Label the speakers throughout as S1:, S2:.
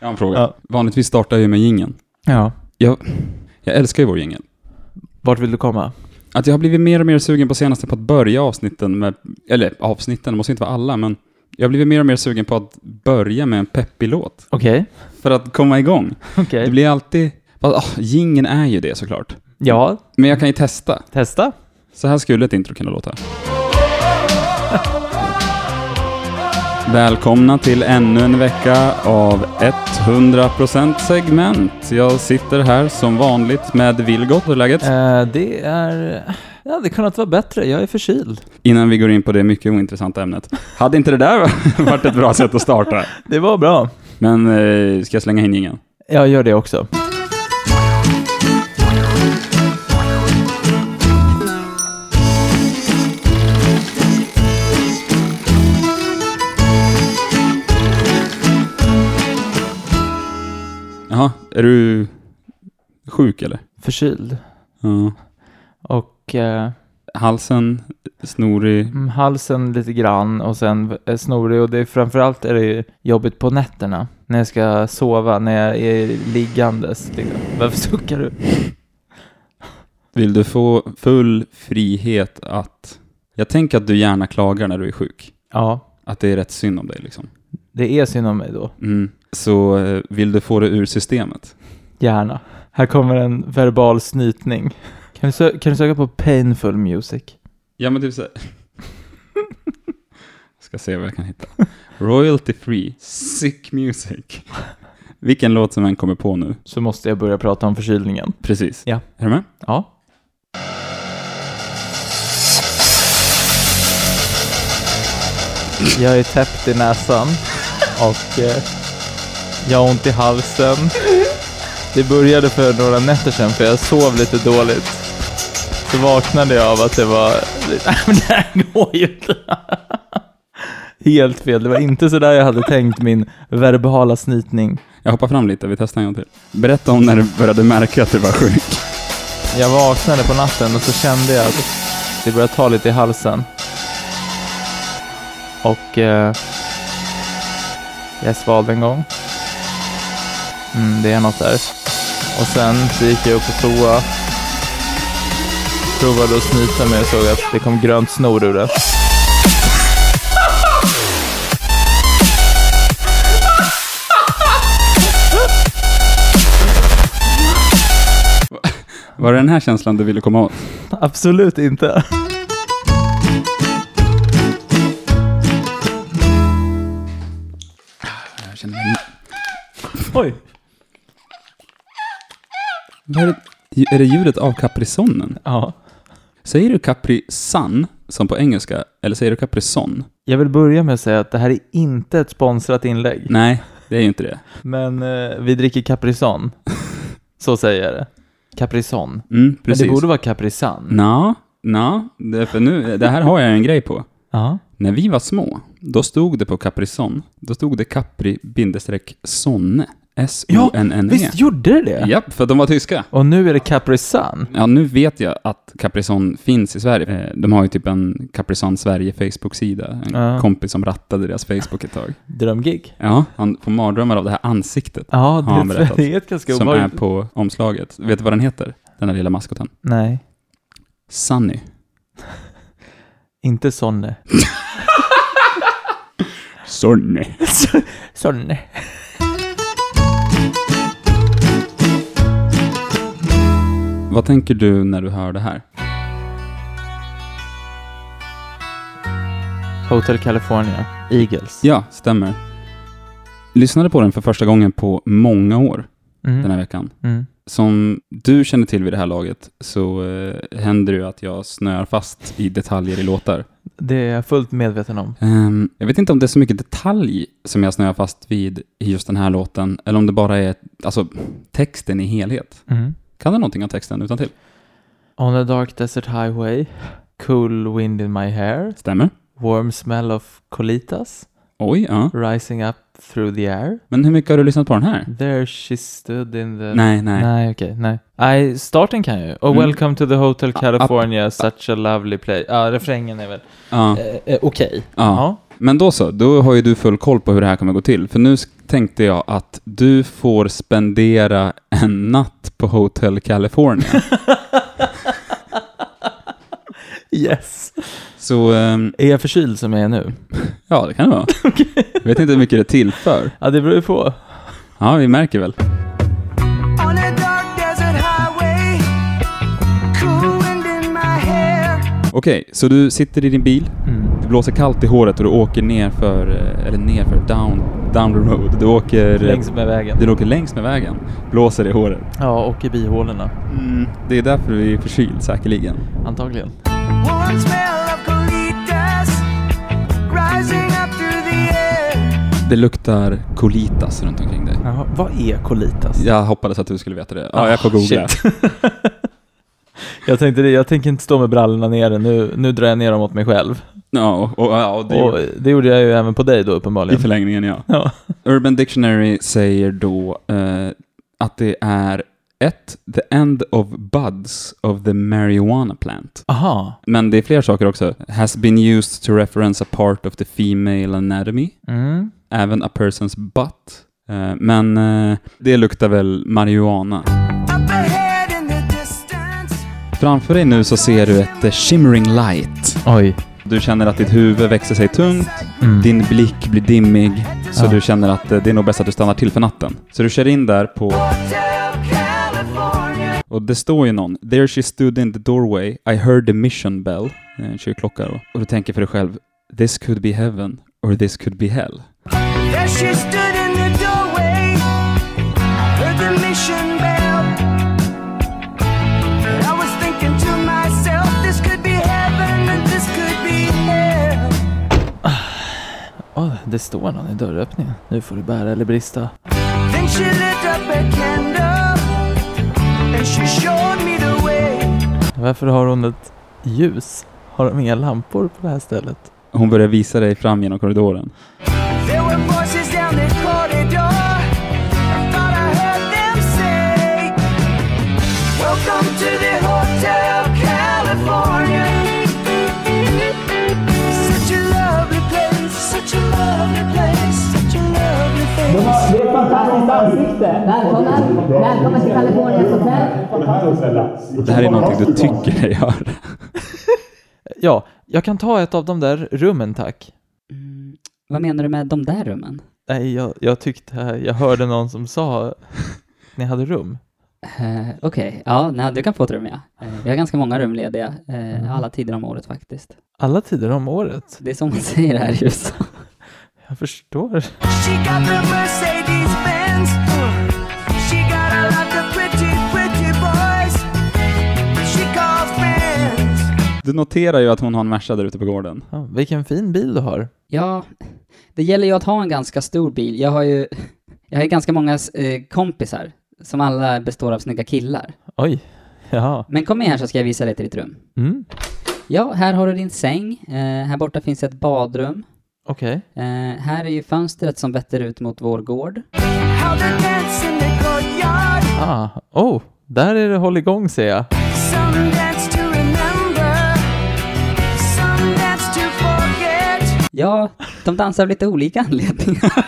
S1: Jag har en fråga.
S2: Ja.
S1: Vanligtvis startar jag ju med jingeln.
S2: Ja.
S1: Jag, jag älskar ju vår jingel.
S2: Vart vill du komma?
S1: Att jag har blivit mer och mer sugen på senaste på att börja avsnitten med, eller avsnitten, det måste inte vara alla, men jag har blivit mer och mer sugen på att börja med en peppig låt.
S2: Okej.
S1: För att komma igång.
S2: Okej.
S1: Det blir alltid, oh, jingeln är ju det såklart.
S2: Ja,
S1: Men jag kan ju testa.
S2: testa.
S1: Så här skulle ett intro kunna låta. Välkomna till ännu en vecka av 100% segment. Jag sitter här som vanligt med Vilgot. Hur är läget?
S2: Eh, det är... Ja, det kunde inte vara bättre. Jag är förkyld.
S1: Innan vi går in på det mycket ointressanta ämnet. Hade inte det där varit ett bra sätt att starta?
S2: Det var bra.
S1: Men eh, ska jag slänga in ingen?
S2: Jag gör det också.
S1: Jaha, är du sjuk eller?
S2: Förkyld.
S1: Ja.
S2: Och eh,
S1: Halsen snorig.
S2: mm, halsen lite grann och sen är snorig. Och det är, framförallt är det ju jobbigt på nätterna. När jag ska sova, när jag är liggandes. Liksom. Varför suckar du?
S1: Vill du få full frihet att... Jag tänker att du gärna klagar när du är sjuk.
S2: Ja,
S1: Att det är rätt synd om dig liksom.
S2: det är synd om mig då.
S1: Mm. Så eh, vill du få det ur systemet?
S2: Gärna. Här kommer en verbal snytning. Kan du, sö- kan du söka på painful music?
S1: Ja men typ såhär. Ska se vad jag kan hitta. Royalty free, sick music. Vilken låt som än kommer på nu.
S2: Så måste jag börja prata om förkylningen.
S1: Precis.
S2: Ja.
S1: Är du med?
S2: Ja. Jag är täppt i näsan och eh, jag har ont i halsen. Det började för några nätter sedan för jag sov lite dåligt. Så vaknade jag av att det var... Nej, men det här går ju inte. Helt fel. Det var inte så där jag hade tänkt min verbala snytning.
S1: Jag hoppar fram lite, vi testar en gång till. Berätta om när du började märka att du var sjuk.
S2: Jag vaknade på natten och så kände jag att det började ta lite i halsen. Och eh, jag svalde en gång. Mm, det är något där. Och sen så gick jag upp på toa. Provade att snyta mig och såg att det kom grönt snor ur det.
S1: Var det den här känslan du ville komma åt?
S2: Absolut inte.
S1: Jag känner mig...
S2: Oj.
S1: Vad är, det, är det ljudet av kaprisonen?
S2: Ja.
S1: Säger du caprisan, som på engelska, eller säger du caprison?
S2: Jag vill börja med att säga att det här är inte ett sponsrat inlägg.
S1: Nej, det är ju inte det. Mm,
S2: Men eh, vi dricker Caprison. Så säger jag det. Caprison.
S1: Mm,
S2: Men det
S1: precis.
S2: borde vara Caprisan.
S1: Nå, nå, det, är för nu, det här har jag en grej på.
S2: Ja.
S1: När vi var små, då stod det på Caprison, då stod det Capri-sonne. S-O-N-N-E.
S2: Visst gjorde det det?
S1: E. Japp, för de var tyska.
S2: Och nu är det Caprisan.
S1: Ja, nu vet jag att Caprison finns i Sverige. Eh, De har ju typ en Caprison Sverige Facebook-sida. En
S2: Ja.
S1: kompis som rattade deras Facebook ett tag.
S2: Drömgig.
S1: Ja, han får mardrömmar av det här ansiktet
S2: Ja, det,
S1: Har han berättat.
S2: det är ett ganska
S1: som är
S2: obehagligt...
S1: på omslaget. Vet du vad den heter? Den där lilla maskoten.
S2: Nej,
S1: Sunny.
S2: inte Sonne.
S1: Sunny.
S2: Sonne.
S1: Vad tänker du när du hör det här?
S2: Hotel California. Eagles.
S1: Ja, stämmer. Lyssnade på den för första gången på många år
S2: Mm.
S1: den här veckan.
S2: Mm.
S1: Som du känner till vid det här laget så eh, händer det ju att jag snöar fast i detaljer i låtar.
S2: Det är jag fullt medveten om.
S1: Ehm, jag vet inte om det är så mycket detalj som jag snöar fast vid i just den här låten, eller om det bara är alltså, texten i helhet.
S2: Mm.
S1: Kan du någonting av texten utan till?
S2: On a dark desert highway. Cool wind in my hair.
S1: Stämmer.
S2: Warm smell of colitas.
S1: Oj, ja.
S2: Rising up through the air.
S1: Men hur mycket har du lyssnat på den här?
S2: There she stood in the...
S1: Nej, nej.
S2: Nej, okej, nej. Nej, starten kan jag ju. Och
S1: Mm.
S2: welcome to the hotel
S1: up-
S2: California, such a lovely place. Ja, refrängen är väl...
S1: Ja,
S2: Eh, eh, okej.
S1: ja.
S2: Ja.
S1: Men då så, då har ju du full koll på hur det här kommer gå till. För nu sk- tänkte jag att du får spendera en natt på Hotel California.
S2: Yes.
S1: Så ehm,
S2: Är jag förkyld som jag är nu?
S1: ja, det kan det vara. Jag vet inte hur mycket det tillför.
S2: Ja, det beror ju på.
S1: Ja, vi märker väl.
S3: On a dark desert highway, cool wind in my hair.
S1: Okej, så du sitter i din bil.
S2: Mm.
S1: Det blåser kallt i håret och du åker ner för, eh, eller ner för, down, down the road. Du åker... eh,
S2: Längs med vägen.
S1: Du åker längs med vägen. Blåser i håret.
S2: Ja, och i bihålorna.
S1: Det är därför du är förkyld säkerligen.
S2: Antagligen.
S3: Warm smell of colitas rising up through the air.
S1: Det luktar colitas runt omkring dig.
S2: Jaha, vad är colitas?
S1: Jag hoppades att du skulle veta det. Ja, jag får googla.
S2: Shit. jag tänkte det, jag tänker inte stå med brallorna nere, nu, nu drar jag ner dem åt mig själv.
S1: Ja, och, och, ja, och det
S2: Och det gjorde jag ju även på dig då uppenbarligen.
S1: i förlängningen ja.
S2: Ja.
S1: Urban Dictionary säger då eh, att det är ett, the end of buds of the marijuana plant.
S2: Aha.
S1: Men det är fler saker också. Has been used to reference a part of the female anatomy.
S2: Mm.
S1: Även a person's butt. Eh, men eh, det luktar väl marijuana.
S3: Up ahead in the distance.
S1: Framför dig nu så ser du ett eh, shimmering light.
S2: Oj.
S1: Du känner att ditt huvud växer sig tungt,
S2: Mm.
S1: din blick blir dimmig, så
S2: Ja.
S1: du känner att eh, det är nog bäst att du stannar till för natten. Så du kör in där på,
S3: Hotel California.
S1: och det står ju någon. There she stood in the doorway, I heard the mission bell. Det är En kyrkklocka då. Och du tänker för dig själv, this could be heaven, or this could be hell.
S3: There she stood in the doorway. I heard the mission bell. And I was thinking to myself, this could be heaven and this could be hell.
S2: Åh, det står någon i dörröppningen. Nu får du bära eller brista.
S3: Then she lit up a candle and she showed me the way.
S2: Varför har hon ett ljus? Har de inga lampor på det här stället?
S1: Hon börjar visa dig fram genom korridoren.
S3: There were voices down the corridor. I thought I heard them say, Welcome to the Hotel California. Such a lovely place, such a lovely place, such a lovely place.
S4: Det är ett fantastiskt ansikte.
S5: Välkomna! Välkomna till Kaliforniens hotell.
S1: Det här är någonting du tycker dig höra.
S2: Ja, jag kan ta ett av de där rummen tack.
S5: Vad menar du med de där rummen?
S2: Nej, jag, jag tyckte jag hörde någon som sa att ni hade rum.
S5: Eh, Okej, ja, nej, du kan få ett rum ja. Eh, vi har ganska många rum lediga, eh, alla tider om året faktiskt.
S2: Alla tider om året.
S5: Det är som man säger här i USA.
S2: Jag förstår.
S3: She got the Mercedes Benz. She got a lot of pretty, pretty boys. But she calls friends.
S1: Du noterar ju att hon har en Merca där ute på gården.
S2: Ja, vilken fin bil du har.
S5: Ja, det gäller ju att ha en ganska stor bil. Jag har ju jag har ju ganska många eh, kompisar som alla består av snygga killar.
S2: Oj. Ja.
S5: Men kom med här så ska jag visa dig till ditt rum.
S2: Mm.
S5: Ja, här har du din säng. Eh, här borta finns ett badrum.
S2: Okej.
S5: Eh, här är ju fönstret som vetter ut mot vår gård.
S3: How they dance in the courtyard.
S2: Ah. Oh, där är det hålligång ser jag.
S3: Some dance to remember. Some dance to forget.
S5: Ja, de dansar av lite olika anledningar.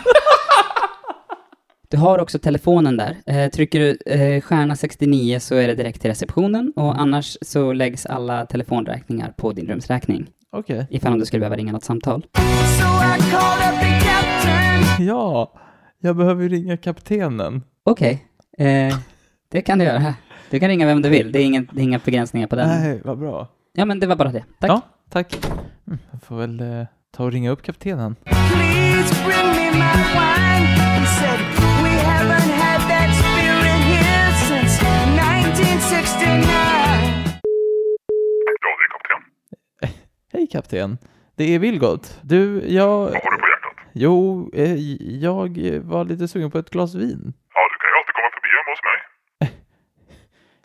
S5: Du har också telefonen där. Eh, trycker du eh, stjärna 69 så är det direkt till receptionen
S2: Mm.
S5: och annars så läggs alla telefonräkningar på din rumsräkning
S2: Okej.
S5: ifall om du skulle behöva ringa något samtal.
S3: So I called up the captain.
S2: Ja, jag behöver ju ringa kaptenen.
S5: Okej, eh, det kan du göra. Du kan ringa vem du vill, det är, ingen, det är inga begränsningar på den.
S2: Nej, vad bra.
S5: Ja, men det var bara det. Tack.
S2: Ja, tack. Mm, jag får väl eh, ta och ringa upp kaptenen.
S3: Please bring me my wine. He said, We haven't had that spirit here since 1969.
S6: Ja, det är kapten.
S2: Hej kapten, det är Vilgot. Du, jag...
S6: Vad har du på hjärtat?
S2: Jo, eh, jag var lite sugen på ett glas vin.
S6: Ja, du kan ju alltid komma förbi hemma hos mig.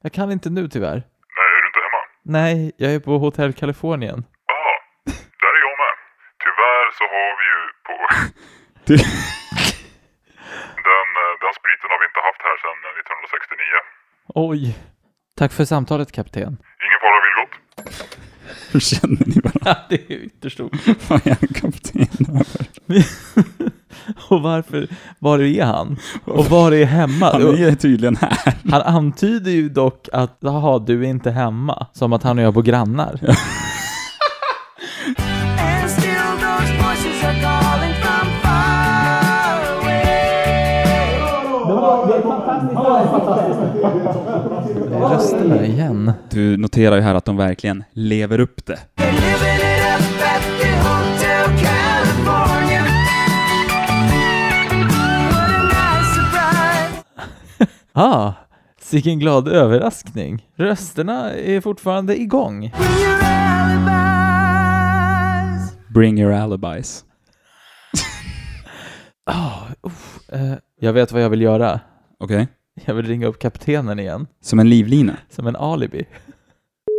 S2: Jag kan inte nu tyvärr.
S6: Nej, är du inte hemma?
S2: Nej, jag är på Hotel Kalifornien.
S6: Jaha, där är jag med. Tyvärr så har vi ju på...
S1: Du-
S6: Den, eh, den spriten har vi inte haft här sedan eh, 1969.
S2: Oj. Tack för samtalet kapten.
S6: Ingen fara, Vilgot.
S1: Hur känner ni varandra?
S2: det är ytterst
S1: Vad är en kapten?
S2: Och varför, var är han? Och var är hemma?
S1: Han är tydligen här.
S2: Han antyder ju dock att, jaha, du är inte hemma. Som att han och jag bor grannar.
S3: And still those voices are calling from far away.
S4: Det var det är ett fantastiskt avsnitt.
S2: Rösterna igen.
S1: Du noterar ju här att de verkligen lever upp det.
S3: They're living it up at the Hotel California. What a nice surprise.
S2: Ah, vilken glad överraskning. Rösterna är fortfarande igång.
S3: When your alibis.
S1: Bring your alibis.
S2: Eh, jag vet vad jag vill göra.
S1: Okej?
S2: Jag vill ringa upp kaptenen igen,
S1: Som en livlina.
S2: som en alibi.
S6: Ja,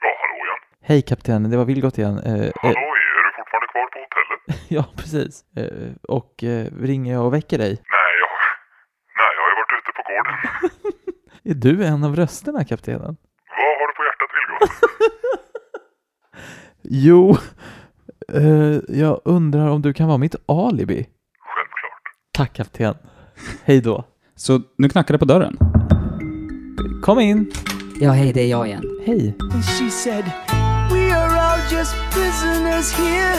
S6: hallå igen.
S2: Hej kaptenen, det var Vilgot igen. Eh, eh,
S6: Halloj, är du fortfarande kvar på hotellet?
S2: ja, precis. Eh, och eh, ringer jag och väcker dig?
S6: Nej, jag... Nej, jag har ju varit ute på gården.
S2: Är du en av rösterna kaptenen?
S6: Vad har du på hjärtat, Vilgot?
S2: Jo, eh, jag undrar om du kan vara mitt alibi?
S6: Självklart.
S2: Tack kapten. Hej då.
S1: Så nu knackar det på dörren.
S2: Kom in.
S5: Ja, hej, det är jag igen.
S2: Hej.
S3: And she said, We are all just prisoners here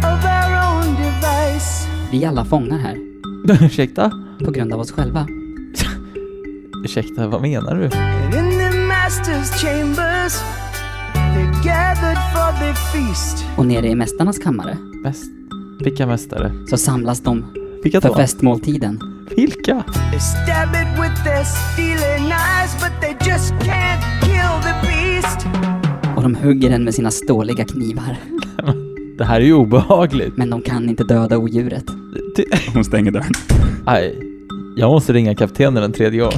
S3: of our own device.
S5: Vi är alla fångar här,
S2: Ursäkta?
S5: på grund av oss själva.
S2: Ursäkta, vad menar du?
S3: And in the master's chambers, they're gathered for the feast.
S5: Och nere i mästarnas kammare
S2: Mäst... Vilka mästare?
S5: så samlas de
S2: Vilka
S5: för
S2: då?
S5: festmåltiden.
S2: Vilka?
S3: They stab it with their stealing eyes, but they just can't kill the beast.
S5: Och de hugger den med sina ståliga knivar.
S2: Det här är ju obehagligt.
S5: Men de kan inte döda odjuret.
S2: Ty...
S1: Hon stänger dörren.
S2: Aj. Jag måste ringa kaptenen en tredje gång.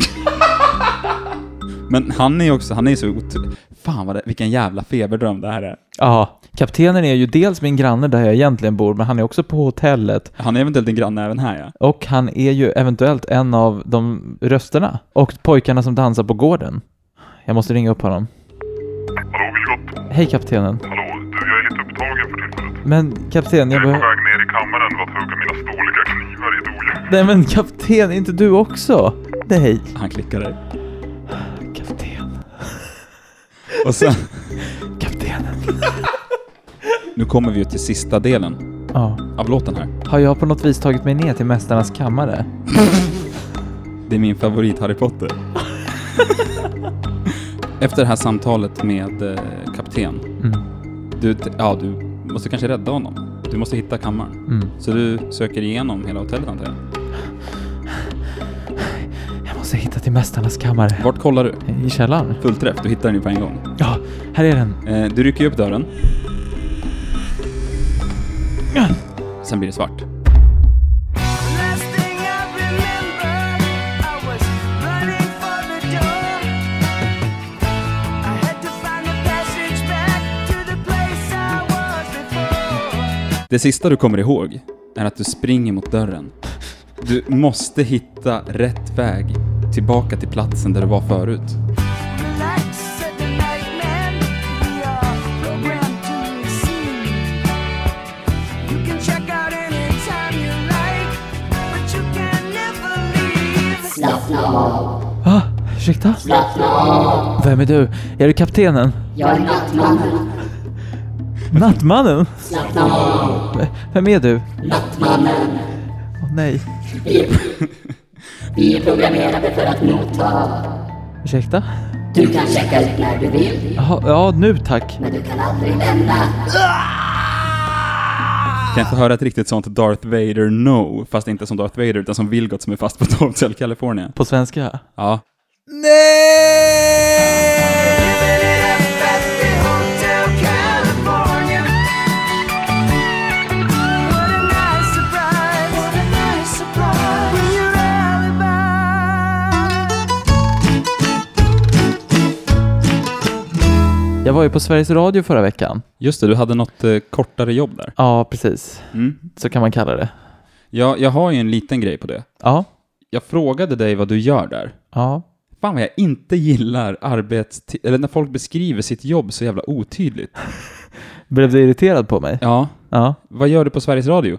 S1: Men han är ju också, han är ju så otro... Fan vad det, vilken jävla feberdröm det här är.
S2: Ja, kaptenen är ju dels min granne där jag egentligen bor, men han är också på hotellet
S1: Han är eventuellt din granne även här ja.
S2: och han är ju eventuellt en av de rösterna och pojkarna som dansar på gården. Jag måste ringa upp honom.
S6: Hallå, Vilgot.
S2: Hej kaptenen.
S6: Hallå, du, jag är lite upptagen för tillfället.
S2: Men kapten, jag
S6: Jag är på
S2: behöver...
S6: väg ner i kammaren för att hugga mina ståliga knivar i ett odjur.
S2: Nej men kapten, inte du också? Nej.
S1: Han klickar dig.
S2: Kapten.
S1: Och sen,
S2: Kaptenen.
S1: nu kommer vi ju till sista delen
S2: Ja.
S1: av låten här.
S2: Har jag på något vis tagit mig ner till Mästarnas kammare?
S1: Det är min favorit Harry Potter. Efter det här samtalet med eh, kapten.
S2: Mm.
S1: Du, t- ja du måste kanske rädda honom. Du måste hitta kammaren.
S2: Mm.
S1: Så du söker igenom hela hotellet antar jag?
S2: Jag måste hitta till Mästarnas kammare.
S1: Vart kollar du?
S2: I källaren?
S1: Fullträff, du hittar den ju på en gång.
S2: Ja, här är den.
S1: Eh, du rycker ju upp dörren. Sen blir det svart.
S3: Last thing I remember, I was running for the door. I had to find a passage back to the place I was before.
S1: Det sista du kommer ihåg är att du springer mot dörren. Du måste hitta rätt väg tillbaka till platsen där du var förut.
S3: Relax, said the nightman. We are programmed to receive. You can check out anytime you like, but you can never leave.
S2: Ah, ursäkta? Vem är du? Är du kaptenen?
S7: Jag är Nattmannen,
S2: Nattmannen? V- Vem är du?
S7: Nattmannen.
S2: Åh nej.
S7: Vi är, vi är programmerade för att motta.
S2: Ursäkta?
S7: Du kan checka ut när du vill,
S2: Jaha, ja, nu tack.
S7: men du kan aldrig lämna.
S1: Kan inte höra ett riktigt sånt Darth Vader no, fast inte som Darth Vader utan som Vilgot som är fast på Hotel California.
S2: På svenska?
S1: Ja.
S3: Living it up at the Hotel California. What a nice surprise. What a nice surprise. When your alibi.
S2: Jag var ju på Sveriges Radio förra veckan.
S1: Just det, du hade något eh, kortare jobb där.
S2: Ja, precis.
S1: Mm.
S2: Så kan man kalla det.
S1: Ja, jag har ju en liten grej på det.
S2: Ja,
S1: Jag frågade dig vad du gör där.
S2: ja.
S1: Fan vad jag inte gillar arbets... Eller när folk beskriver sitt jobb så jävla otydligt.
S2: Blev du irriterad på mig?
S1: Ja,
S2: Ja.
S1: vad gör du på Sveriges Radio?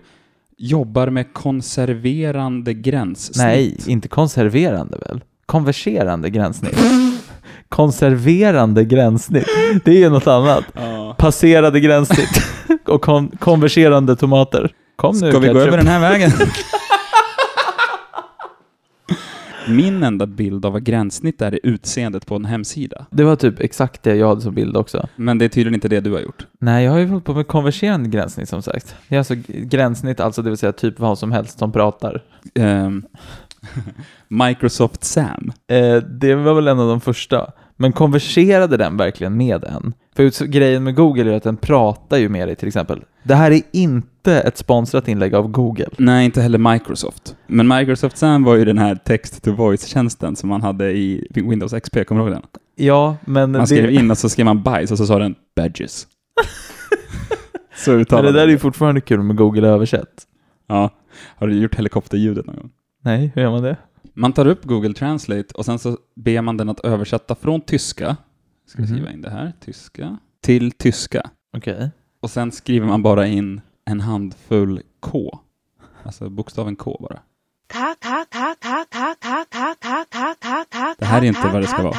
S1: jobbar med konserverande gränssnitt.
S2: Nej, inte konserverande väl? Konverserande gränssnitt. konserverande gränssnitt. Det är ju något annat.
S1: Ja.
S2: Passerade gränssnitt och kon- konverserande tomater. Kom nu
S1: Ska vi gå
S2: ketchup.
S1: över den här vägen? Min enda bild av vad gränssnitt är är utseendet på en hemsida.
S2: Det var typ exakt det jag hade som bild också.
S1: Men det är tydligen inte det du har gjort.
S2: Nej, jag har ju hållit på med konverserande gränssnitt som sagt. Det är alltså g- gränssnitt, alltså det vill säga typ vad som helst som pratar.
S1: Ehm, Microsoft Sam.
S2: Eh, det var väl en av de första. Men konverserade den verkligen med en? För ut- grejen med Google är att den pratar ju med dig till exempel. Det här är inte ett sponsrat inlägg av Google.
S1: Nej, inte heller Microsoft. Men Microsoft Sam var ju den här text-to-voice-tjänsten som man hade i Windows XP, kommer du ihåg den?
S2: Ja, men
S1: Man
S2: det,
S1: skrev in och så skrev man bajs och så sa den badges. så
S2: men
S1: uttalade
S2: det där är
S1: den.
S2: ju fortfarande kul med Google översätt.
S1: Ja. Har du gjort helikopterljudet någon gång?
S2: Nej, hur gör man det?
S1: Man tar upp Google Translate och sen så ber man den att översätta från tyska, ska vi
S2: Mhm.
S1: skriva in det här, tyska, till tyska.
S2: Okej.
S1: Och sen skriver man bara in en handfull K. Alltså bokstaven K bara. Det här är inte vad det ska vara.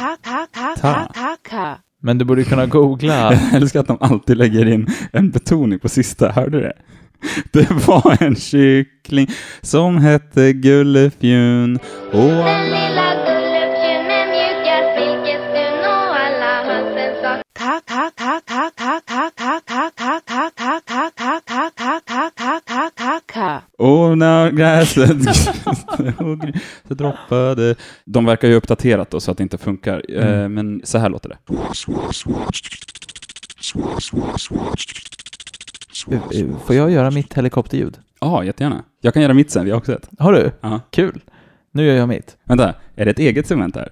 S1: Ta.
S2: Men du borde kunna googla.
S1: Jag älskar att de alltid lägger in en betoning på sista, hörde du det? Det var en kyckling som hette Gullefjun och
S8: Den lilla gullefjun är mjukast, vilket du nog alla hönsens har
S1: Och när gräset så droppade... De verkar ju ha uppdaterat då så att det inte funkar. Eh, Men så här låter det.
S2: Får jag göra mitt helikopterljud?
S1: Ja, jättegärna. Jag kan göra mitt sen, vi har också ett.
S2: Har du?
S1: Ja.
S2: Kul. Nu gör jag mitt.
S1: Vänta, är det ett eget segment här?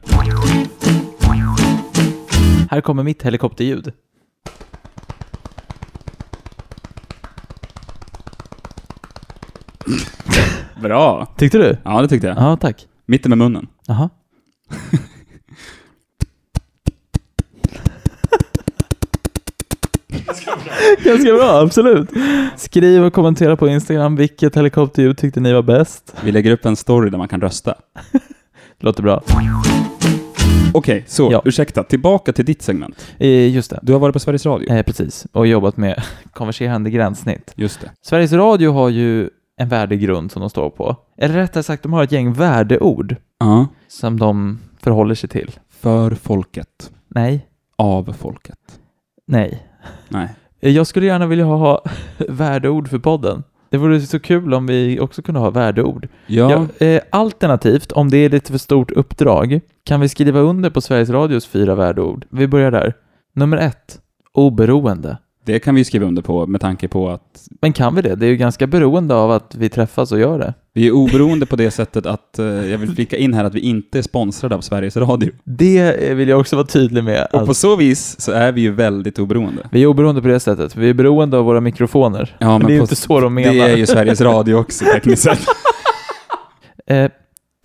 S2: Här kommer mitt helikopterljud.
S1: Bra!
S2: Tyckte du?
S1: Ja, det tyckte jag.
S2: Ja, tack.
S1: Mitten med munnen.
S2: Jaha. Ganska bra, absolut. Skriv och kommentera på Instagram vilket helikopterljud tyckte ni var bäst.
S1: Vi lägger upp en story där man kan rösta.
S2: Låter bra.
S1: Okej, så
S2: Ja.
S1: ursäkta. Tillbaka till ditt segment.
S2: Eh, just det.
S1: Du har varit på Sveriges Radio.
S2: Eh, precis, och jobbat med konverserande gränssnitt.
S1: Just det.
S2: Sveriges Radio har ju en värdegrund som de står på. Eller rättare sagt, de har ett gäng värdeord
S1: Ja.
S2: som de förhåller sig till.
S1: För folket.
S2: Nej,
S1: Av folket.
S2: nej.
S1: Nej.
S2: Eh, Jag skulle gärna vilja ha värdeord för podden. Det vore så kul om vi också kunde ha värdeord.
S1: Ja.
S2: Ja, eh, alternativt, om det är lite för stort uppdrag, kan vi skriva under på Sveriges Radios fyra värdeord? Vi börjar där. Nummer ett, oberoende.
S1: Det kan vi skriva under på med tanke på att
S2: Men kan vi det? Det är ju ganska beroende av att vi träffas och gör det.
S1: Vi är oberoende på det sättet att, eh, jag vill flika in här att vi inte är sponsrade av Sveriges Radio.
S2: Det eh, vill jag också vara tydlig med.
S1: Och på
S2: Att
S1: så vis så är vi ju väldigt oberoende.
S2: vi är oberoende på det sättet. Vi är beroende av våra mikrofoner.
S1: Ja,
S2: Men det är ju
S1: på-
S2: inte så de menar.
S1: det är ju Sveriges Radio också tekniskt sett.
S2: eh,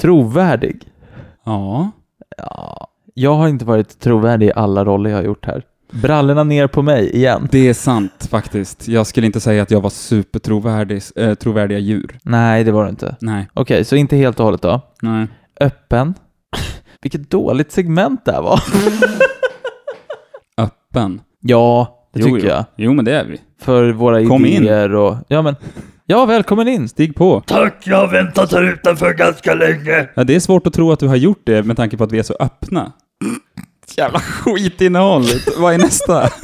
S2: trovärdig.
S1: Ja,
S2: Ja, jag har inte varit trovärdig i alla roller jag har gjort här. Brallorna ner på mig igen.
S1: det är sant faktiskt. Jag skulle inte säga att jag var supertrovärdig, eh, trovärdiga djur.
S2: Nej, det var det inte.
S1: Nej,
S2: Okej, så inte helt och hållet då.
S1: nej.
S2: Öppen. Vilket dåligt segment det här var.
S1: Öppen.
S2: Ja, det
S1: Jo, jo.
S2: tycker jag.
S1: Jo, men det är vi.
S2: För våra
S1: Kom in.
S2: idéer och... Ja, men... Ja, välkommen in!
S1: Stig på.
S9: Tack, jag har väntat här utanför ganska länge.
S1: Ja, det är svårt att tro att du har gjort det med tanke på att vi är så öppna. Jävla skitinnehåll. Vad är nästa?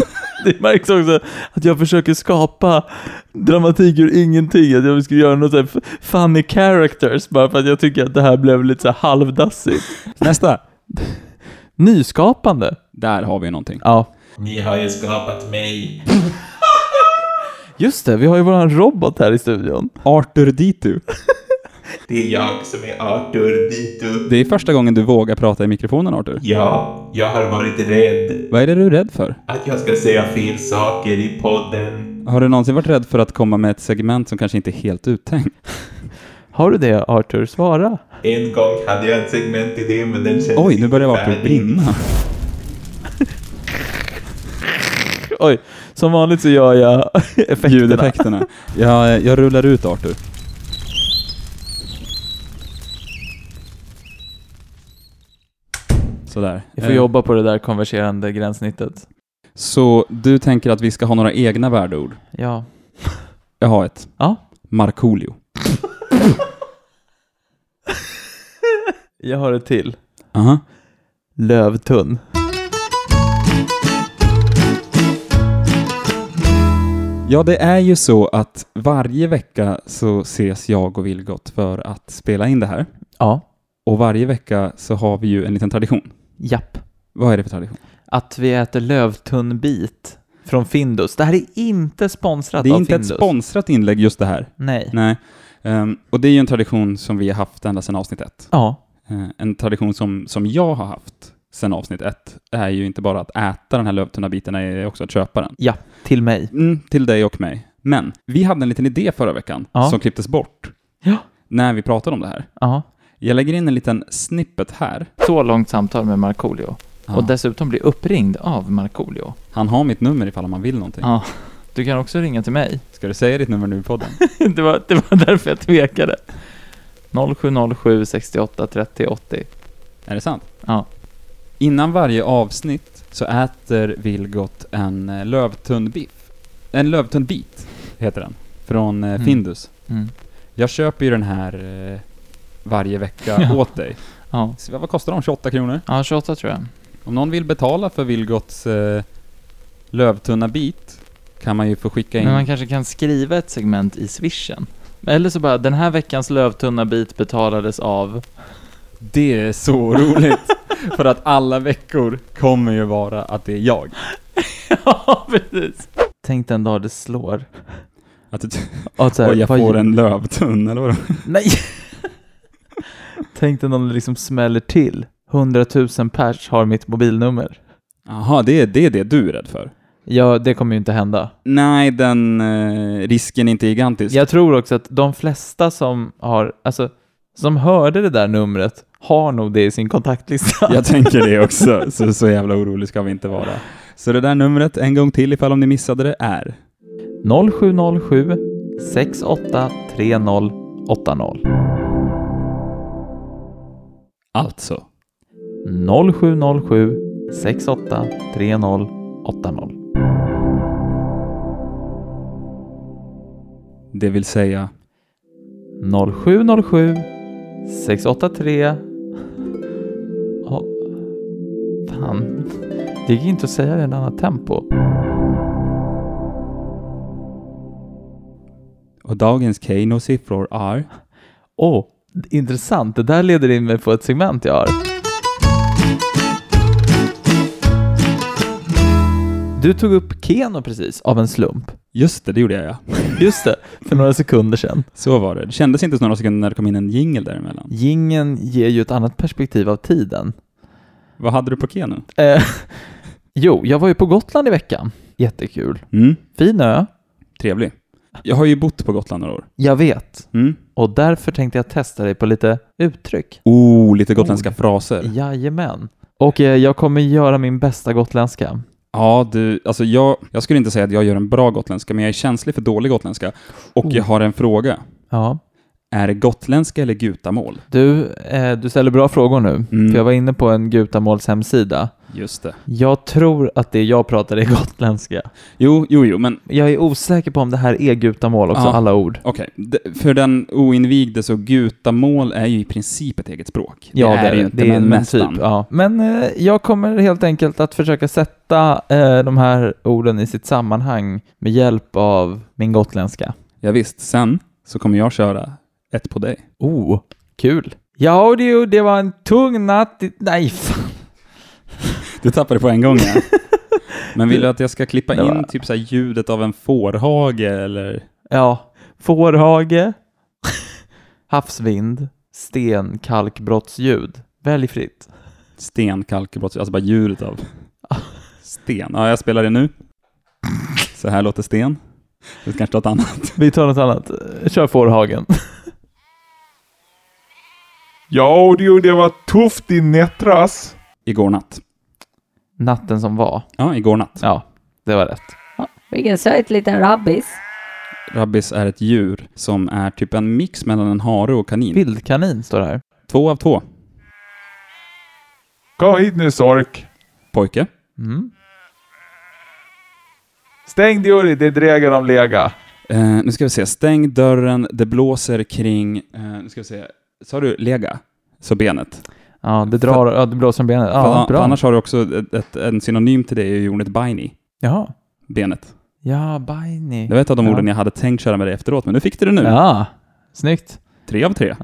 S2: Det märks också att jag försöker skapa dramatik ur ingenting. Att jag skulle göra något så här f- funny characters bara för att jag tycker att det här blev lite så här halvdassigt.
S1: Nästa.
S2: Nyskapande.
S1: Där har vi någonting.
S2: Ja.
S9: Ni har ju skapat mig.
S2: Just det, vi har ju våran robot här i studion.
S1: Arthur Ditu.
S9: Det är jag som är Arthur Dito.
S1: Det är första gången du vågar prata i mikrofonen, Arthur.
S9: Ja, jag har varit rädd
S1: Vad är det du är rädd för?
S9: att jag ska säga fel saker i podden.
S1: Har du någonsin varit rädd för att komma med ett segment som kanske inte är helt uttänkt?
S2: Har du det Arthur? Svara.
S9: En gång hade jag ett segment i det, men den kändes
S1: Oj, nu
S9: inte
S1: börjar Arthur
S9: färdig.
S1: brinna.
S2: Oj, som vanligt så gör jag effekterna.
S1: Ljudeffekterna. Jag, jag rullar ut Arthur. Sådär.
S2: Vi får
S1: Eh,
S2: jobba på det där konverserande gränssnittet.
S1: Så du tänker att vi ska ha några egna värdeord?
S2: Ja.
S1: Jag har ett.
S2: Ja.
S1: Markoolio.
S2: Jag har ett till.
S1: Aha.
S2: Lövtunn.
S1: Ja, det är ju så att varje vecka så ses jag och Vilgot för att spela in det här.
S2: Ja.
S1: Och varje vecka så har vi ju en liten tradition.
S2: Japp.
S1: Vad är det för tradition?
S2: Att vi äter lövtunnbit från Findus. Det här är inte sponsrat
S1: Det är
S2: av
S1: inte ett
S2: Findus.
S1: sponsrat inlägg just det här.
S2: Nej.
S1: Nej. Ehm, och det är ju en tradition som vi har haft ända sedan avsnitt ett.
S2: Ja.
S1: Eh, en tradition som, som jag har haft sedan avsnitt ett är ju inte bara att äta den här lövtunna biten, det är också att köpa den.
S2: Ja. Till mig.
S1: Mm, till dig och mig. Men vi hade en liten idé förra veckan
S2: Ja.
S1: som klipptes bort
S2: Ja.
S1: när vi pratade om det här.
S2: Ja.
S1: Jag lägger in en liten snippet här.
S2: Så långt samtal med Markoolio.
S1: Ja.
S2: Och dessutom bli uppringd av Markoolio.
S1: Han har mitt nummer ifall man vill någonting.
S2: Ja. Du kan också ringa till mig.
S1: Ska du säga ditt nummer nu i podden?
S2: det, var, det var därför jag tvekade. 0707 68 30 80.
S1: är det sant?
S2: Ja.
S1: Innan varje avsnitt så äter Vilgot en eh, lövtunn biff. En lövtunn bit heter den. Från eh,
S2: Mm.
S1: Findus.
S2: Mm.
S1: Jag köper ju den här eh, varje vecka
S2: Ja.
S1: åt dig.
S2: Ja.
S1: Så vad kostar de? 28 kronor?
S2: ja, 28 tror jag.
S1: Om någon vill betala för Vilgots eh, lövtunna bit kan man ju få skicka in.
S2: Men man kanske kan skriva ett segment i swishen. Eller så bara, den här veckans lövtunna bit betalades av...
S1: Det är så roligt! för att alla veckor kommer ju vara att det är jag.
S2: ja, precis. Tänk den dag det slår.
S1: Att du,
S2: Och så
S1: Oj, jag får en lövtunn, eller vadå?
S2: Nej! Tänk den dag det liksom smäller till. 100 000 pers har mitt mobilnummer.
S1: Jaha, det är, det är det du är rädd för?
S2: Ja, det kommer ju inte hända.
S1: Nej, den eh, risken är inte gigantisk.
S2: Jag tror också att de flesta som har, alltså, som hörde det där numret har nog det i sin kontaktlista.
S1: Jag tänker det också, så, så jävla orolig ska vi inte vara. Så det där numret, en gång till ifall om ni missade det, är
S2: 0707 683080.
S1: alltså
S2: 0707 683080.
S1: Det vill säga,
S2: 0707 683... Åh, Fan. Det gick inte att säga det i ett annat tempo.
S1: och dagens Keno-siffror är...
S2: Åh, intressant. Det där leder in mig på ett segment jag har. Du tog upp Keno precis, av en slump.
S1: Just det, det gjorde jag ja.
S2: Just det, för några sekunder sedan.
S1: Så var det. Det kändes inte så några sekunder när det kom in en jingle däremellan.
S2: Gingen ger ju ett annat perspektiv av tiden.
S1: Vad hade du på Keno?
S2: Eh, jo, jag var ju på Gotland i veckan. Jättekul.
S1: Mm,
S2: Fin ö.
S1: trevlig. Jag har ju bott på Gotland några år.
S2: Jag vet.
S1: Mm.
S2: Och därför tänkte jag testa dig på lite uttryck.
S1: Oh, lite gotländska
S2: Ord.
S1: fraser.
S2: Jajamän. Och eh, jag kommer göra min bästa gotländska.
S1: Ja, du, alltså jag, jag skulle inte säga att jag gör en bra gotländska, men jag är känslig för dålig gotländska. Och
S2: Oh.
S1: jag har en fråga.
S2: Ja.
S1: Är det gotländska eller gutamål?
S2: Du, eh, du ställer bra frågor nu.
S1: Mm.
S2: För jag var inne på en Gutamåls hemsida.
S1: Just det.
S2: Jag tror att det jag pratar är gotländska.
S1: Jo, jo, jo, men
S2: Jag är osäker på om det här är Gutamål också,
S1: Ja.
S2: alla ord.
S1: okej. D- För den oinvigde så gutamål är ju i princip ett eget språk.
S2: det är men typ. Ja. Men eh, jag kommer helt enkelt att försöka sätta eh, de här orden i sitt sammanhang med hjälp av min gotländska.
S1: Ja, visst. Sen så kommer jag köra ett på dig.
S2: Oh, kul. Ja, det, det var en tung natt. i- Nej, fan.
S1: Du tappade på en gång ja. Men vill du att jag ska klippa
S2: Det
S1: in
S2: var-
S1: typ så här ljudet av en fårhage eller?
S2: Ja, fårhage, havsvind, sten, kalkbrottsljud. Välj fritt.
S1: Stenkalkebrott, alltså bara ljudet av sten. Ja, jag spelar det nu. Så här låter sten. Det kanske något annat.
S2: Vi tar något annat. Kör fårhagen.
S9: Ja du, det var tufft i nättras.
S1: Igår natt.
S2: Natten som var.
S1: Ja, igår natt.
S2: Ja, det var rätt.
S7: Vilken söt liten rabbis.
S1: Rabbis är ett djur som är typ en mix mellan en hare och kanin.
S2: Vildkanin står det här.
S1: Två av två.
S6: Kom hit nu Sork.
S1: Pojke?
S2: Mm.
S6: Stäng Djuri, det är Dregan om Lega.
S1: Eh, nu ska vi se. Stäng dörren, det blåser kring... Eh, nu ska vi se. Sa du lega? Så benet?
S2: Ja, det drar, ja, det blåser om benet. Ja,
S1: För- för
S2: bra.
S1: Annars har du också ett, ett, en synonym till det, är ju ordet biny.
S2: Jaha.
S1: Benet.
S2: Ja, Bajni.
S1: Det var ett av de
S2: Ja.
S1: orden jag hade tänkt köra med dig efteråt, men nu fick du det nu.
S2: Ja, snyggt.
S1: Tre av tre.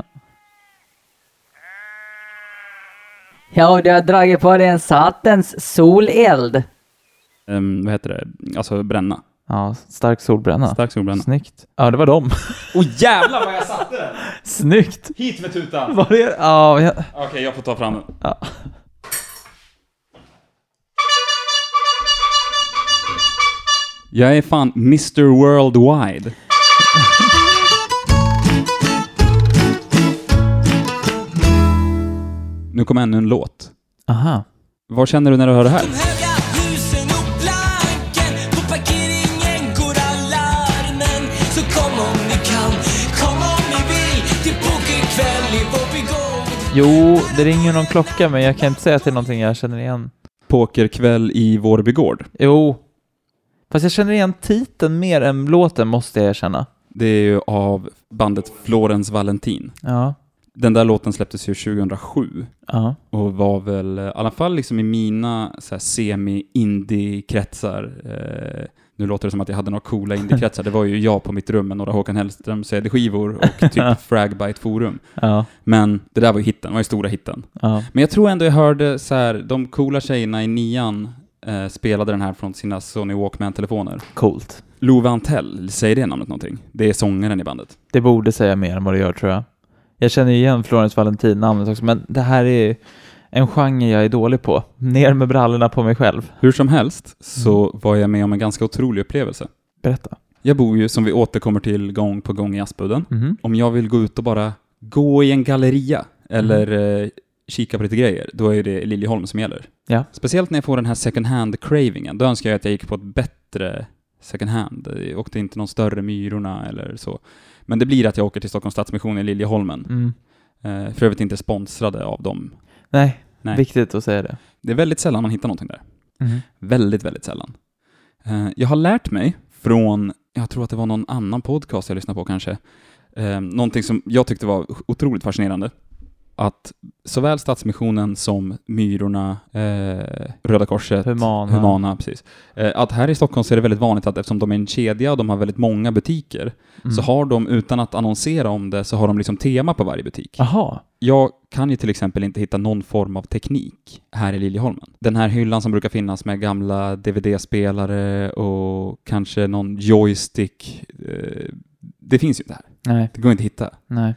S10: Ja, och du har dragit på dig en satans soleld.
S1: Ehm, vad heter det? Alltså bränna.
S2: Ja, stark solbränna.
S1: Stark solbränna.
S2: Snyggt. Ja, det var dem.
S1: Åh oh, jävlar vad jag satte den!
S2: snyggt!
S1: Hit med tutan!
S2: Var det? Ja, jag...
S1: Okej, jag får ta fram den.
S2: Ja.
S1: Jag är fan Mr Worldwide. Nu kommer ännu en låt.
S2: Aha.
S1: Vad känner du när du hör det här?
S3: Höga husen och planken På parkeringen går alarmen Så kom om ni kan, kom om ni vill Till pokerkväll i Bobbygård
S2: Jo, det ringer någon klocka, men jag kan inte säga att det är någonting jag känner igen.
S1: Pokerkväll i Vårby gård.
S2: Jo. Fast jag känner igen titeln mer än låten, måste jag erkänna.
S1: Det är ju av bandet Florens Valentin.
S2: Ja.
S1: Den där låten släpptes ju 2007
S2: Ja.
S1: och var väl, eh, i alla fall liksom i mina så här semi-indie-kretsar, eh, nu låter det som att jag hade några coola indie-kretsar, det var ju jag på mitt rum med några Håkan Hellström CD-skivor och typ Fragbite Forum.
S2: Ja.
S1: Men det där var ju hitten, det var ju stora hitten.
S2: Ja.
S1: Men jag tror ändå jag hörde så här, de coola tjejerna i nian eh, spelade den här från sina Sony Walkman-telefoner.
S2: Coolt.
S1: Love Antell, säger det namnet någonting? Det är sångaren i bandet.
S2: Det borde säga mer än vad det gör, tror jag. Jag känner ju igen Florence Valentin namnet också, men det här är ju en genre jag är dålig på. Ner med brallorna på mig själv.
S1: Hur som helst så var jag med om en ganska otrolig upplevelse.
S2: Berätta.
S1: Jag bor ju, som vi återkommer till gång på gång i Aspudden.
S2: Mhm.
S1: Om jag vill gå ut och bara gå i en galleria eller eh, kika på lite grejer, då är det Liljeholm som gäller.
S2: Ja.
S1: Speciellt när jag får den här second hand-cravingen, då önskar jag att jag gick på ett bättre second hand. Jag åkte inte någon större Myrorna eller så. Men det blir att jag åker till Stockholms Stadsmission i Liljeholmen.
S2: Mm.
S1: Eh, för övrigt inte sponsrade av dem.
S2: Nej,
S1: Nej. Mm-hmm.
S2: viktigt att säga det.
S1: Det är väldigt sällan man hittar någonting där.
S2: Mm.
S1: Väldigt, väldigt sällan. Eh, Jag har lärt mig från, jag tror att det var någon annan podcast jag lyssnade på kanske, eh, någonting som jag tyckte var otroligt fascinerande. Att såväl Stadsmissionen som Myrorna, eh, Röda Korset,
S2: Humana.
S1: Humana precis. Eh, Att här i Stockholm så är det väldigt vanligt att eftersom de är en kedja och de har väldigt många butiker, så har de utan att annonsera om det så har de liksom tema på varje butik.
S2: Aha.
S1: Jag kan ju till exempel inte hitta någon form av teknik här i Liljeholmen. Den här hyllan som brukar finnas med gamla DVD-spelare och kanske någon joystick. eh, Det finns ju inte här.
S2: Nej,
S1: Det går inte att hitta.
S2: nej.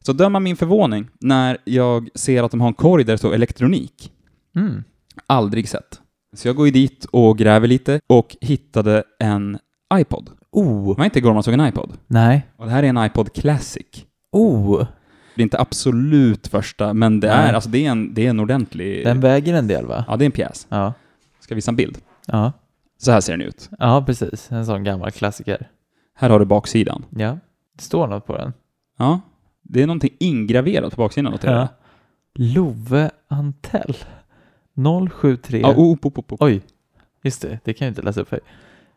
S1: Så döma min förvåning när jag ser att de har en korg där det står elektronik.
S2: Mm.
S1: Aldrig sett. Så jag går ju dit och gräver lite och hittade en iPod.
S2: Oh.
S1: Det var inte igår man såg en iPod.
S2: Nej.
S1: Och det här är en iPod Classic.
S2: Oh.
S1: Det är inte absolut första, men det är,
S2: Nej.
S1: alltså det är en, det är en ordentlig...
S2: Den väger en del, va?
S1: Ja, det är en pjäs.
S2: Ja.
S1: Ska visa en bild.
S2: Ja.
S1: Så här ser den ut.
S2: Ja, precis. En sån gammal klassiker.
S1: Här har du baksidan.
S2: Ja. Det står något på den.
S1: Ja. Det är någonting ingraverat på baksidan, noterar jag.
S2: Love Antell. 073.
S1: Ja, oh, oh, oh, oh.
S2: Oj. Just det, det kan jag inte läsa upp här.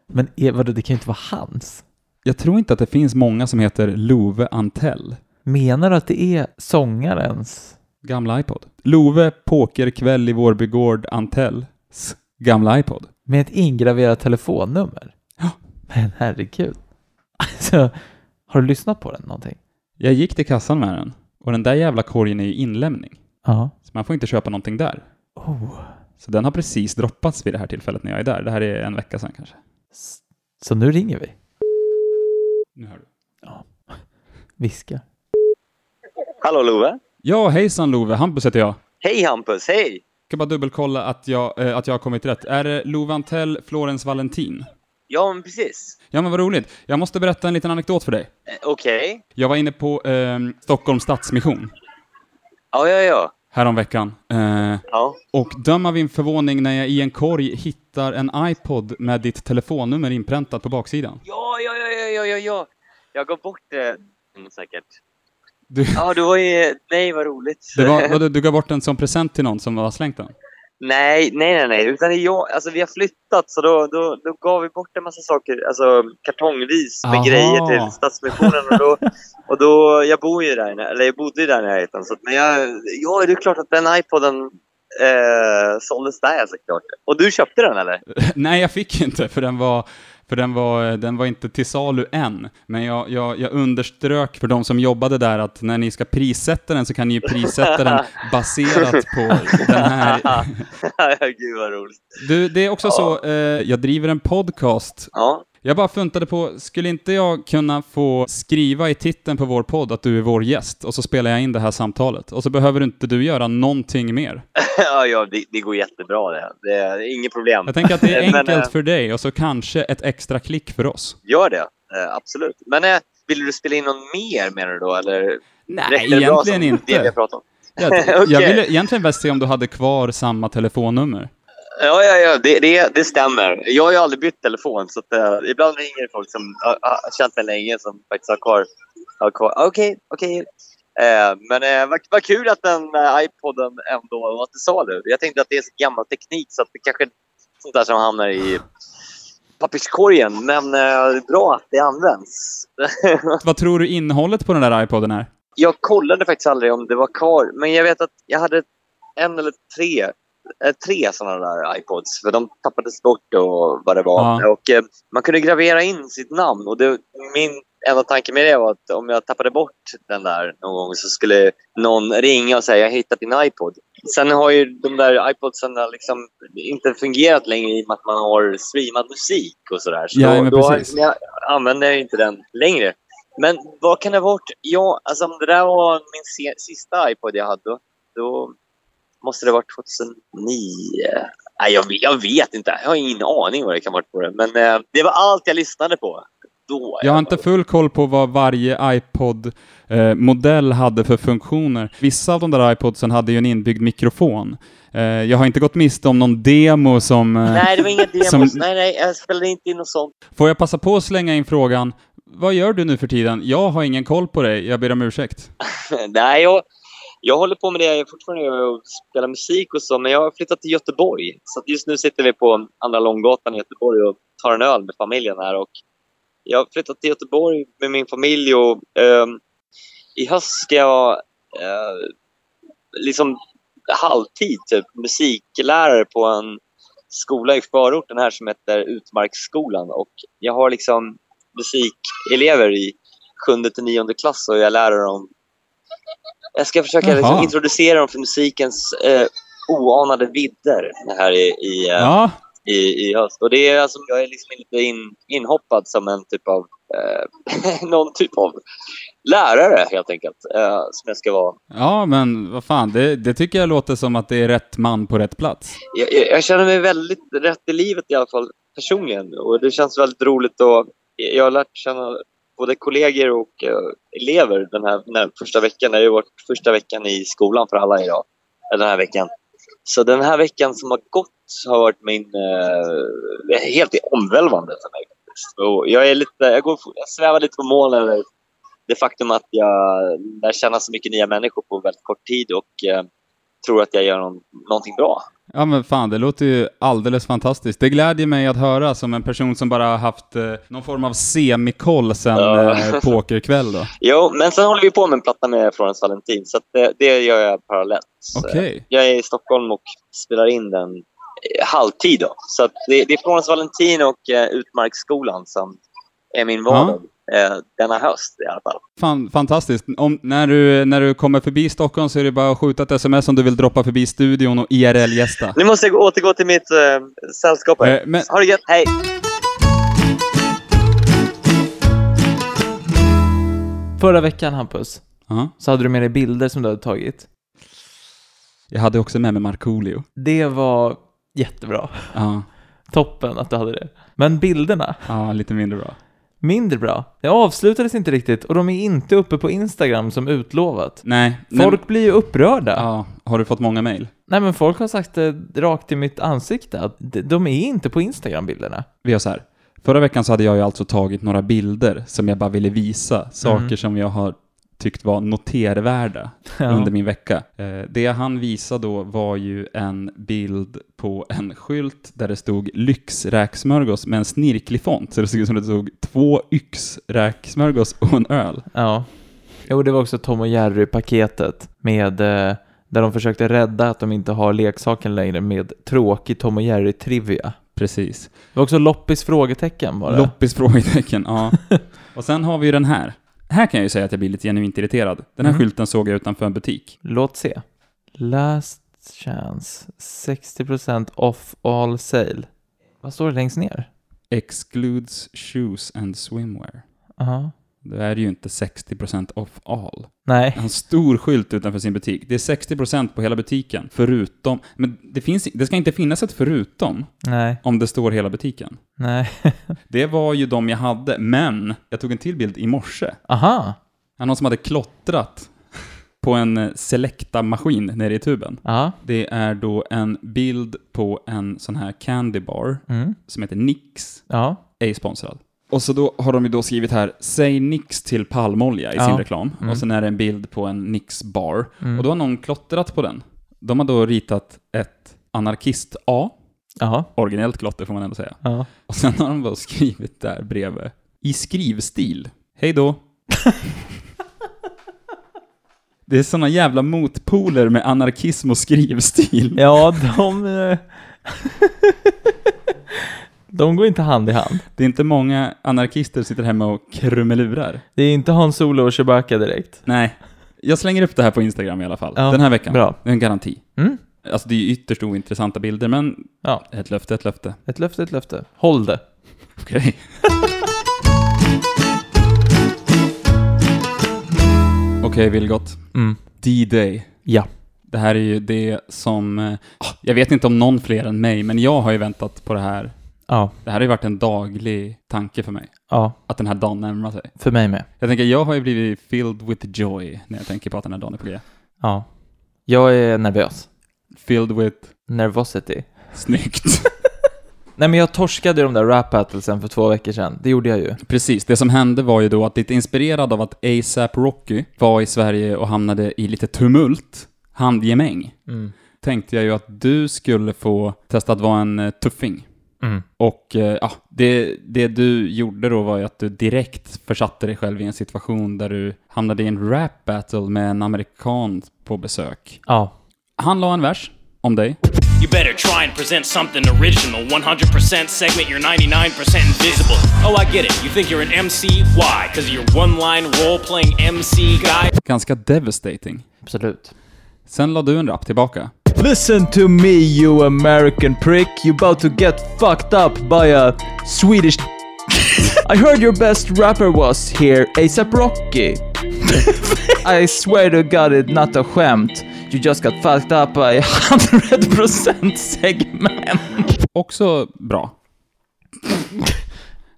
S2: Men är- vadå, det kan ju inte vara hans.
S1: Jag tror inte att det finns många som heter Love Antell.
S2: Menar du att det är sångarens?
S1: Gamla iPod. Love Pokerkväll i Vårbygård Antells gamla iPod.
S2: Med ett ingraverat telefonnummer?
S1: Ja.
S2: Men herregud. Alltså, har du lyssnat på den någonting?
S1: Jag gick till kassan med den och den där jävla korgen är ju inlämning.
S2: Ja.
S1: Så man får inte köpa någonting där.
S2: Oh.
S1: Så den har precis droppats vid det här tillfället när jag är där. Det här är en vecka sedan kanske.
S2: S- Så nu ringer vi.
S1: Nu hör du.
S2: Viskar.
S9: Hallå Love.
S1: Ja, hejsan Love. Hampus heter jag.
S9: Hej Hampus, hej.
S1: Jag ska bara dubbelkolla att jag, eh, att jag har kommit rätt. Är det Lovantell Florens Valentin?
S9: Ja, men precis.
S1: Ja, men vad roligt. Jag måste berätta en liten anekdot för dig.
S9: Eh, Okej.
S1: Jag var inne på eh, Stockholms Stadsmission
S9: Ja, ja, ja.
S1: häromveckan. Eh,
S9: Ja.
S1: och döm av min förvåning när jag i en korg hittar en iPod med ditt telefonnummer inpräntat på baksidan.
S9: Ja, ja, ja, ja, ja, ja, ja. Jag gav bort det mm, säkert.
S1: Du,
S9: Ja, du var ju... Nej, vad roligt.
S1: det var, vadå, du gav bort den som present till någon som har slängt den?
S11: Nej, nej, nej, nej. Utan det är jag, alltså, vi har flyttat så då, då, då gav vi bort en massa saker, alltså kartongvis med
S12: Aha.
S11: grejer till Stadsmissionen. Och då, och då, jag bor ju där, i när- eller jag bodde ju där i närheten. Så att, men jag, ja, det är klart att den iPoden eh, såldes där såklart. Och du köpte den eller?
S1: Nej, jag fick inte, för den var, för den var, den var inte till salu än. Men jag, jag, jag underströk för de som jobbade där att när ni ska prissätta den så kan ni ju prissätta den baserat på den här.
S11: Gud vad roligt.
S1: Du, det är också så, eh, jag driver en podcast. Jag bara funtade på, skulle inte jag kunna få skriva i titeln på vår podd att du är vår gäst och så spelar jag in det här samtalet och så behöver inte du göra någonting mer.
S11: ja, ja det, det går jättebra det. Det är inget problem.
S1: Jag tänker att det är
S11: Men,
S1: enkelt
S11: eh,
S1: för dig och så kanske ett extra klick för oss.
S11: Gör det, eh, absolut. Men eh, vill du spela in någon mer menar du då? Eller
S1: Nej,
S11: räcker det bra
S1: egentligen
S11: som
S1: inte.
S11: Det vi pratar om?
S1: Jag, jag
S11: Okej.
S1: ville egentligen bara se om du hade kvar samma telefonnummer.
S11: Ja, ja, ja det, det, det stämmer. Jag har ju aldrig bytt telefon, så att, eh, ibland ringer det folk som har har känt mig länge som faktiskt har kvar. Har kvar. Ah, Okej, okej. Eh, men eh, vad, vad kul att den eh, iPoden ändå var till salu. Jag tänkte att det är så gammal teknik så att det kanske är sånt där som hamnar i papperskorgen. Men eh, bra att det används.
S1: Vad tror du innehållet på den där iPoden är?
S11: Jag kollade faktiskt aldrig om det var kvar, men jag vet att jag hade en eller tre, eh, tre sådana där iPods, för de tappades bort och vad det var.
S12: Ja.
S11: Och, eh, man kunde gravera in sitt namn och det, min enda tanke med det var att om jag tappade bort den där någon gång så skulle någon ringa och säga jag har hittat din iPod. Sen har ju de där iPodsarna liksom inte fungerat längre i och med att man har streamat musik och sådär. Så
S1: Ja,
S11: då,
S1: men
S11: då
S1: precis.
S11: jag använder jag inte den längre. Men vad kan det ha varit? Ja, alltså om det där var min se- sista iPod jag hade, då, då måste det ha varit 2009. Nej, jag, vet- jag vet inte. Jag har ingen aning vad det kan ha varit på det. Men eh, det var allt jag lyssnade på då.
S1: Jag har inte full koll på vad varje iPod-modell hade för funktioner. Vissa av de där iPodsen hade ju en inbyggd mikrofon. Eh, Jag har inte gått miste om någon demo som... eh,
S11: Nej, det var inga demos.
S1: som-
S11: Nej, nej, jag spelade inte in något sånt.
S1: Får jag passa på att slänga in frågan, vad gör du nu för tiden? Jag har ingen koll på dig, jag ber om ursäkt.
S11: nej, jag, jag håller på med det. Jag är fortfarande och spelar musik och så, men jag har flyttat till Göteborg. Så att just nu sitter vi på Andra Långgatan i Göteborg och tar en öl med familjen här. Och jag har flyttat till Göteborg med min familj och ehm, i höst ska jag eh, liksom halvtid typ, musiklärare på en skola i förorten här som heter Utmarksskolan. Och jag har liksom musikelever i sjunde till nionde klass och jag lär dem jag ska försöka liksom
S1: Jaha.
S11: introducera dem för musikens eh, oanade vidder här i, i, eh,
S1: Ja.
S11: i, i höst. Och det är alltså, jag är liksom lite in, inhoppad som en typ av, eh, någon typ av lärare helt enkelt, eh, som jag ska vara.
S1: Ja, men vad fan, det, det tycker jag låter som att det är rätt man på rätt plats.
S11: Jag, jag, jag känner mig väldigt rätt i livet i alla fall personligen och det känns väldigt roligt och jag har lärt känna både kollegor och eh, elever den här, den här första veckan. Det har ju varit första veckan i skolan för alla idag, eh, den här veckan. Så den här veckan som har gått har varit min eh, helt omvälvande för mig. faktiskt. Och jag, är lite, jag, går, jag svävar lite på mål över det faktum att jag lär känna så mycket nya människor på väldigt kort tid och eh, tror att jag gör någon, någonting bra.
S1: Ja men fan, det låter ju alldeles fantastiskt. Det glädjer mig att höra som en person som bara har haft eh, någon form av semikoll sen
S11: Ja.
S1: eh, pokerkväll då.
S11: Jo, men sen håller vi på med en platta med Florence Valentin, så att det, det gör jag parallellt. Så
S1: Okej.
S11: Jag är i Stockholm och spelar in den eh, halvtid. Då. Så att det, det är Florence Valentin och eh, Utmarksskolan som är min vardag eh, denna höst i alla fall.
S1: Fan, fantastiskt. Om, när, du, när du kommer förbi Stockholm så är det bara att skjuta ett sms om du vill droppa förbi studion och IRL-gästa.
S11: Nu måste jag gå- återgå till mitt eh, sällskap här.
S1: Eh, men-
S11: Ha det gött, hej!
S2: Förra veckan, Hampus,
S1: Ja.
S2: så hade du med dig bilder som du hade tagit.
S1: Jag hade också med mig Markoolio.
S2: Det var jättebra.
S1: Ja.
S2: Toppen att du hade det. Men bilderna?
S1: Ja, lite mindre bra.
S2: Mindre bra. Det avslutades inte riktigt och de är inte uppe på Instagram som utlovat.
S1: Nej.
S2: Folk blir ju upprörda.
S1: Ja, har du fått många mejl?
S2: Nej men folk har sagt det rakt i mitt ansikte att de- de är inte på Instagram bilderna.
S1: Vi gör så här. Förra veckan så hade jag ju alltså tagit några bilder som jag bara ville visa. Saker
S2: Mm.
S1: som jag har tyckt var notervärda
S2: Ja.
S1: under min vecka. Eh, det han visade då var ju en bild på en skylt där det stod lyxräksmörgås med en snirklig font, så det såg ut som det stod två yxräksmörgås och en öl.
S2: Ja. Jo, det var också Tom och Jerry-paketet med eh, där de försökte rädda att de inte har leksaken längre med tråkig Tom och Jerry-trivia.
S1: Precis.
S2: Det var också Loppis frågetecken var det.
S1: Loppis frågetecken, ja. och sen har vi ju den här. Här kan jag ju säga att jag blir lite genuint irriterad. Den här
S2: Mm.
S1: skylten såg jag utanför en butik.
S2: Låt se. Last chance. 60% off all sale. Vad står det längst ner?
S1: Excludes shoes and swimwear.
S2: Aha.
S1: Då är det ju inte 60% off all.
S2: Nej.
S1: en stor skylt utanför sin butik. Det är 60% på hela butiken, förutom... Men det, finns, det ska inte finnas ett förutom
S2: Nej.
S1: om det står hela butiken.
S2: Nej.
S1: Det var ju de jag hade, men jag tog en till bild i morse.
S2: Aha.
S1: Det är Någon som hade klottrat på en eh, Selecta-maskin nere i tuben.
S2: Ja.
S1: Det är då en bild på en sån här candy bar
S2: Mm.
S1: som heter Nix,
S2: Ja.
S1: är sponsrad. Och så då har de ju då skrivit här, säg Nix till palmolja i sin
S2: Ja.
S1: reklam.
S2: Mm.
S1: Och sen är det en bild på en Nix bar.
S2: Mm.
S1: Och då har någon klottrat på den. De har då ritat ett anarkist-A,
S2: Jaha.
S1: originellt klotter får man ändå säga.
S2: Ja.
S1: Och sen har de bara skrivit där bredvid, i skrivstil, hej då. Det är såna jävla motpoler med anarkism och skrivstil.
S2: Ja, de... eh, de går inte hand i hand.
S1: Det är inte många anarkister som sitter hemma och krumelurar.
S2: Det är inte Hans-Olo och Chewbacca direkt.
S1: Nej. Jag slänger upp det här på Instagram i alla fall.
S2: Ja,
S1: Den här veckan.
S2: bra.
S1: Det är en garanti.
S2: Mm.
S1: Alltså det är ju ytterst ointressanta bilder, men
S2: Ja.
S1: ett löfte, ett löfte.
S2: Ett löfte, ett löfte. Håll det.
S1: Okej. Okej, Vilgot.
S2: Mm.
S1: D-Day.
S2: Ja.
S1: Det här är ju det som... eh, ah, Jag vet inte om någon fler än mig, men jag har ju väntat på det här.
S2: Ja.
S1: Det här har ju varit en daglig tanke för mig.
S2: Ja,
S1: Att den här dagen närmar sig.
S2: för mig med.
S1: Jag tänker, jag har ju blivit filled with joy när jag tänker på att den här dagen är på G.
S2: Ja. Jag är nervös.
S1: Filled with...
S2: Nervosity.
S1: Snyggt.
S2: Nej, men jag torskade ju de där rap battlesen för två veckor sedan. Det gjorde jag ju.
S1: Precis, det som hände var ju då att lite inspirerad av att ASAP Rocky var i Sverige och hamnade i lite tumult, handgemäng,
S2: Mm.
S1: tänkte jag ju att du skulle få testa att vara en eh, tuffing. Och eh, ja, det, det du gjorde då var ju att du direkt försatte dig själv i en situation där du hamnade i en rap battle med en amerikan på besök.
S2: Ja.
S1: Han la en vers om dig.
S12: You better try and present something original. 100% segment, you're 99% invisible. Oh, I get it. You think you're an MC? Why? Because you're one line role playing MC guy.
S1: Ganska devastating.
S2: Absolut.
S1: Sen la du en rap tillbaka.
S2: Listen to me you American prick. You about to get fucked up by a Swedish... I heard your best rapper was here, ASAP Rocky. I swear to God it's not a skämt. You just got fucked up by 100% segment.
S1: Också bra.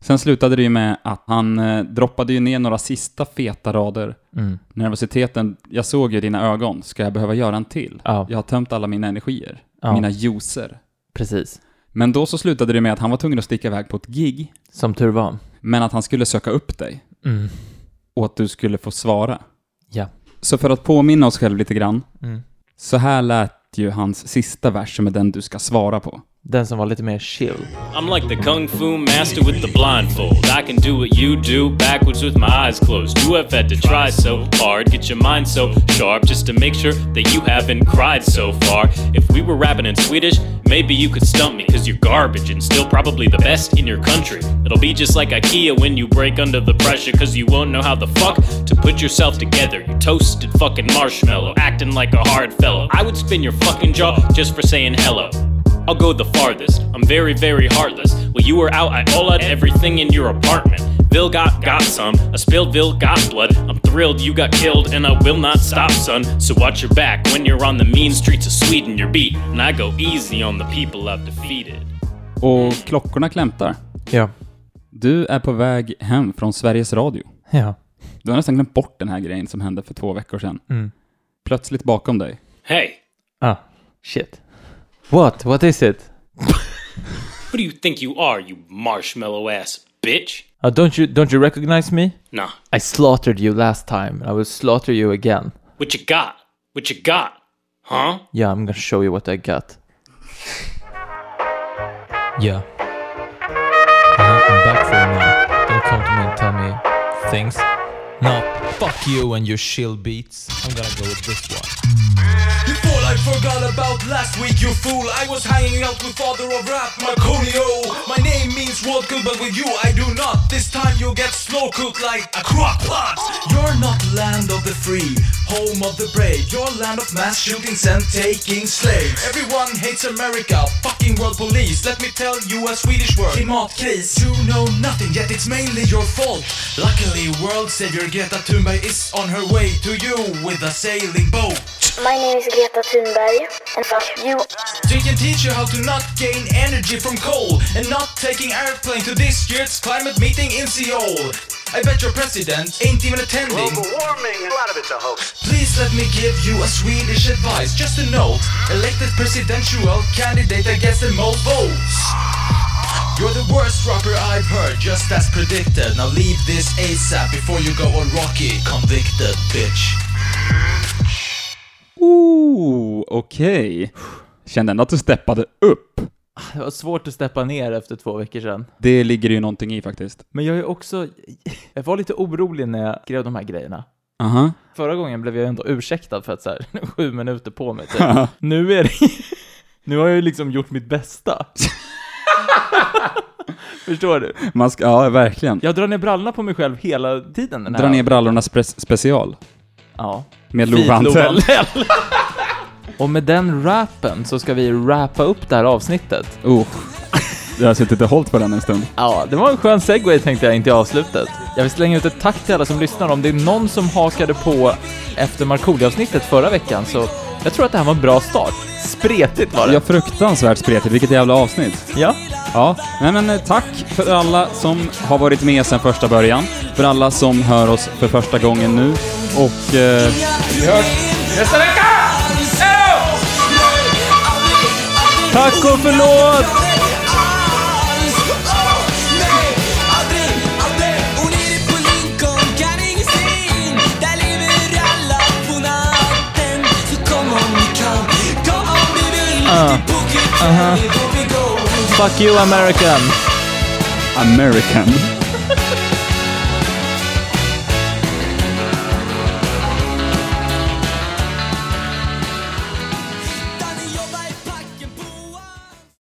S1: Sen slutade det ju med att han eh, droppade ju ner några sista feta rader.
S2: Mm.
S1: Nervositeten, jag såg ju i dina ögon, ska jag behöva göra en till?
S2: Ja.
S1: Jag har tömt alla mina energier,
S2: Ja.
S1: mina juicer.
S2: Precis.
S1: Men då så slutade det med att han var tvungen att sticka iväg på ett gig,
S2: Som tur var.
S1: men att han skulle söka upp dig
S2: Mm.
S1: och att du skulle få svara.
S2: Ja.
S1: Så för att påminna oss själv lite grann,
S2: Mm.
S1: så här lät ju hans sista vers som är den du ska svara på.
S2: Den som var lite mer chill.
S12: I'm like the kung fu master with the blindfold. I can do what you do backwards with my eyes closed. You have had to try so hard, get your mind so sharp just to make sure that you haven't cried so far. If we were rapping in Swedish, maybe you could stump me cuz you're garbage and still probably the best in your country. It'll be just like IKEA when you break under the pressure cuz you won't know how the fuck to put yourself together. You toasted fucking marshmallow, acting like a hard fellow. I would spin your fucking jaw just for saying hello. I'll go the farthest. I'm very, very heartless. Well, you were out, I all out everything in your apartment. Bill got got some. I spilled Bill got blood. I'm thrilled you got killed, and I will not stop, son. So watch your back when you're on the mean streets of Sweden. You're beat, and I go easy on the people I've defeated.
S1: Och klockorna klämtar.
S2: Ja.
S1: Du är på väg hem från Sveriges Radio.
S2: Ja.
S1: Du har nästan glömt bort den här grejen som hände för två veckor sedan.
S2: Mm.
S1: Plötsligt bakom dig.
S12: Hey,
S2: Ah, shit. What? What is it?
S12: who do you think you are, you marshmallow ass bitch.
S2: Uh, don't you don't you recognize me?
S12: Nah.
S2: I slaughtered you last time. I will slaughter you again.
S12: What you got? What you got? Huh?
S2: Yeah, I'm gonna show you what I got. yeah. Uh-huh, I'm back for now. Don't come to me and tell me things. No, fuck you and your shill beats. I'm gonna go with this one.
S3: You fool, I forgot about last week, you fool. I was hanging out with father of rap, Marconio. My name means world good, but with you I do not. This time you'll get slow cooked like a crock pot. You're not land of the free, home of the brave. You're land of mass shootings and taking slaves. Everyone hates America, fucking world police. Let me tell you a Swedish word. Klimatkris. You know nothing, yet it's mainly your fault. Luckily, world savior Greta Thunberg is on her way to you with a sailing boat.
S8: My name is Greta Thunberg, and fuck you.
S3: They can teach you how to not gain energy from coal and not taking airplane to this year's climate meeting in Seoul. I bet your president ain't even attending.
S13: warming, a lot of it's a hoax.
S3: Please let me give you a Swedish advice. Just a note: elected presidential candidate that gets the most votes. You're the worst rapper I've heard, just as predicted. Now leave this ASAP before you go all rocky, convicted bitch.
S1: Ooh, okej. Kände ändå att du steppade upp.
S2: Det var svårt att steppa ner efter två veckor sedan.
S1: Det ligger ju någonting i faktiskt.
S2: Men jag är också... Jag var lite orolig när jag skrev de här grejerna.
S1: Aha.
S2: Förra gången blev jag ändå ursäktad för att så här, sju minuter på mig typ. Nu är det... Nu har jag ju liksom gjort mitt bästa. Förstår du?
S1: Man ska, ja, verkligen.
S2: Jag drar ner brallorna på mig själv hela tiden den här.
S1: Dra ner brallorna spe- special.
S2: Ja.
S1: Med Love Antell.
S2: Och med den rappen så ska vi rappa upp det här avsnittet.
S1: Oh. Jag har suttit och hållit på den en stund.
S2: Ja, det var en skön segway tänkte jag in till avslutet. Jag vill slänga ut ett tack till alla som lyssnar. Om det är någon som hakade på efter Markoolio-avsnittet förra veckan så jag tror att det här var en bra start. Spretigt var det.
S1: Ja, fruktansvärt spretigt. Vilket jävla avsnitt.
S2: Ja.
S1: Ja. Nej, men eh, tack för alla som har varit med sedan första början. För alla som hör oss för första gången nu. Och... Eh,
S2: Vi hörs nästa vecka! Tack och förlåt! Uh. Uh-huh. Fuck you American!
S1: American.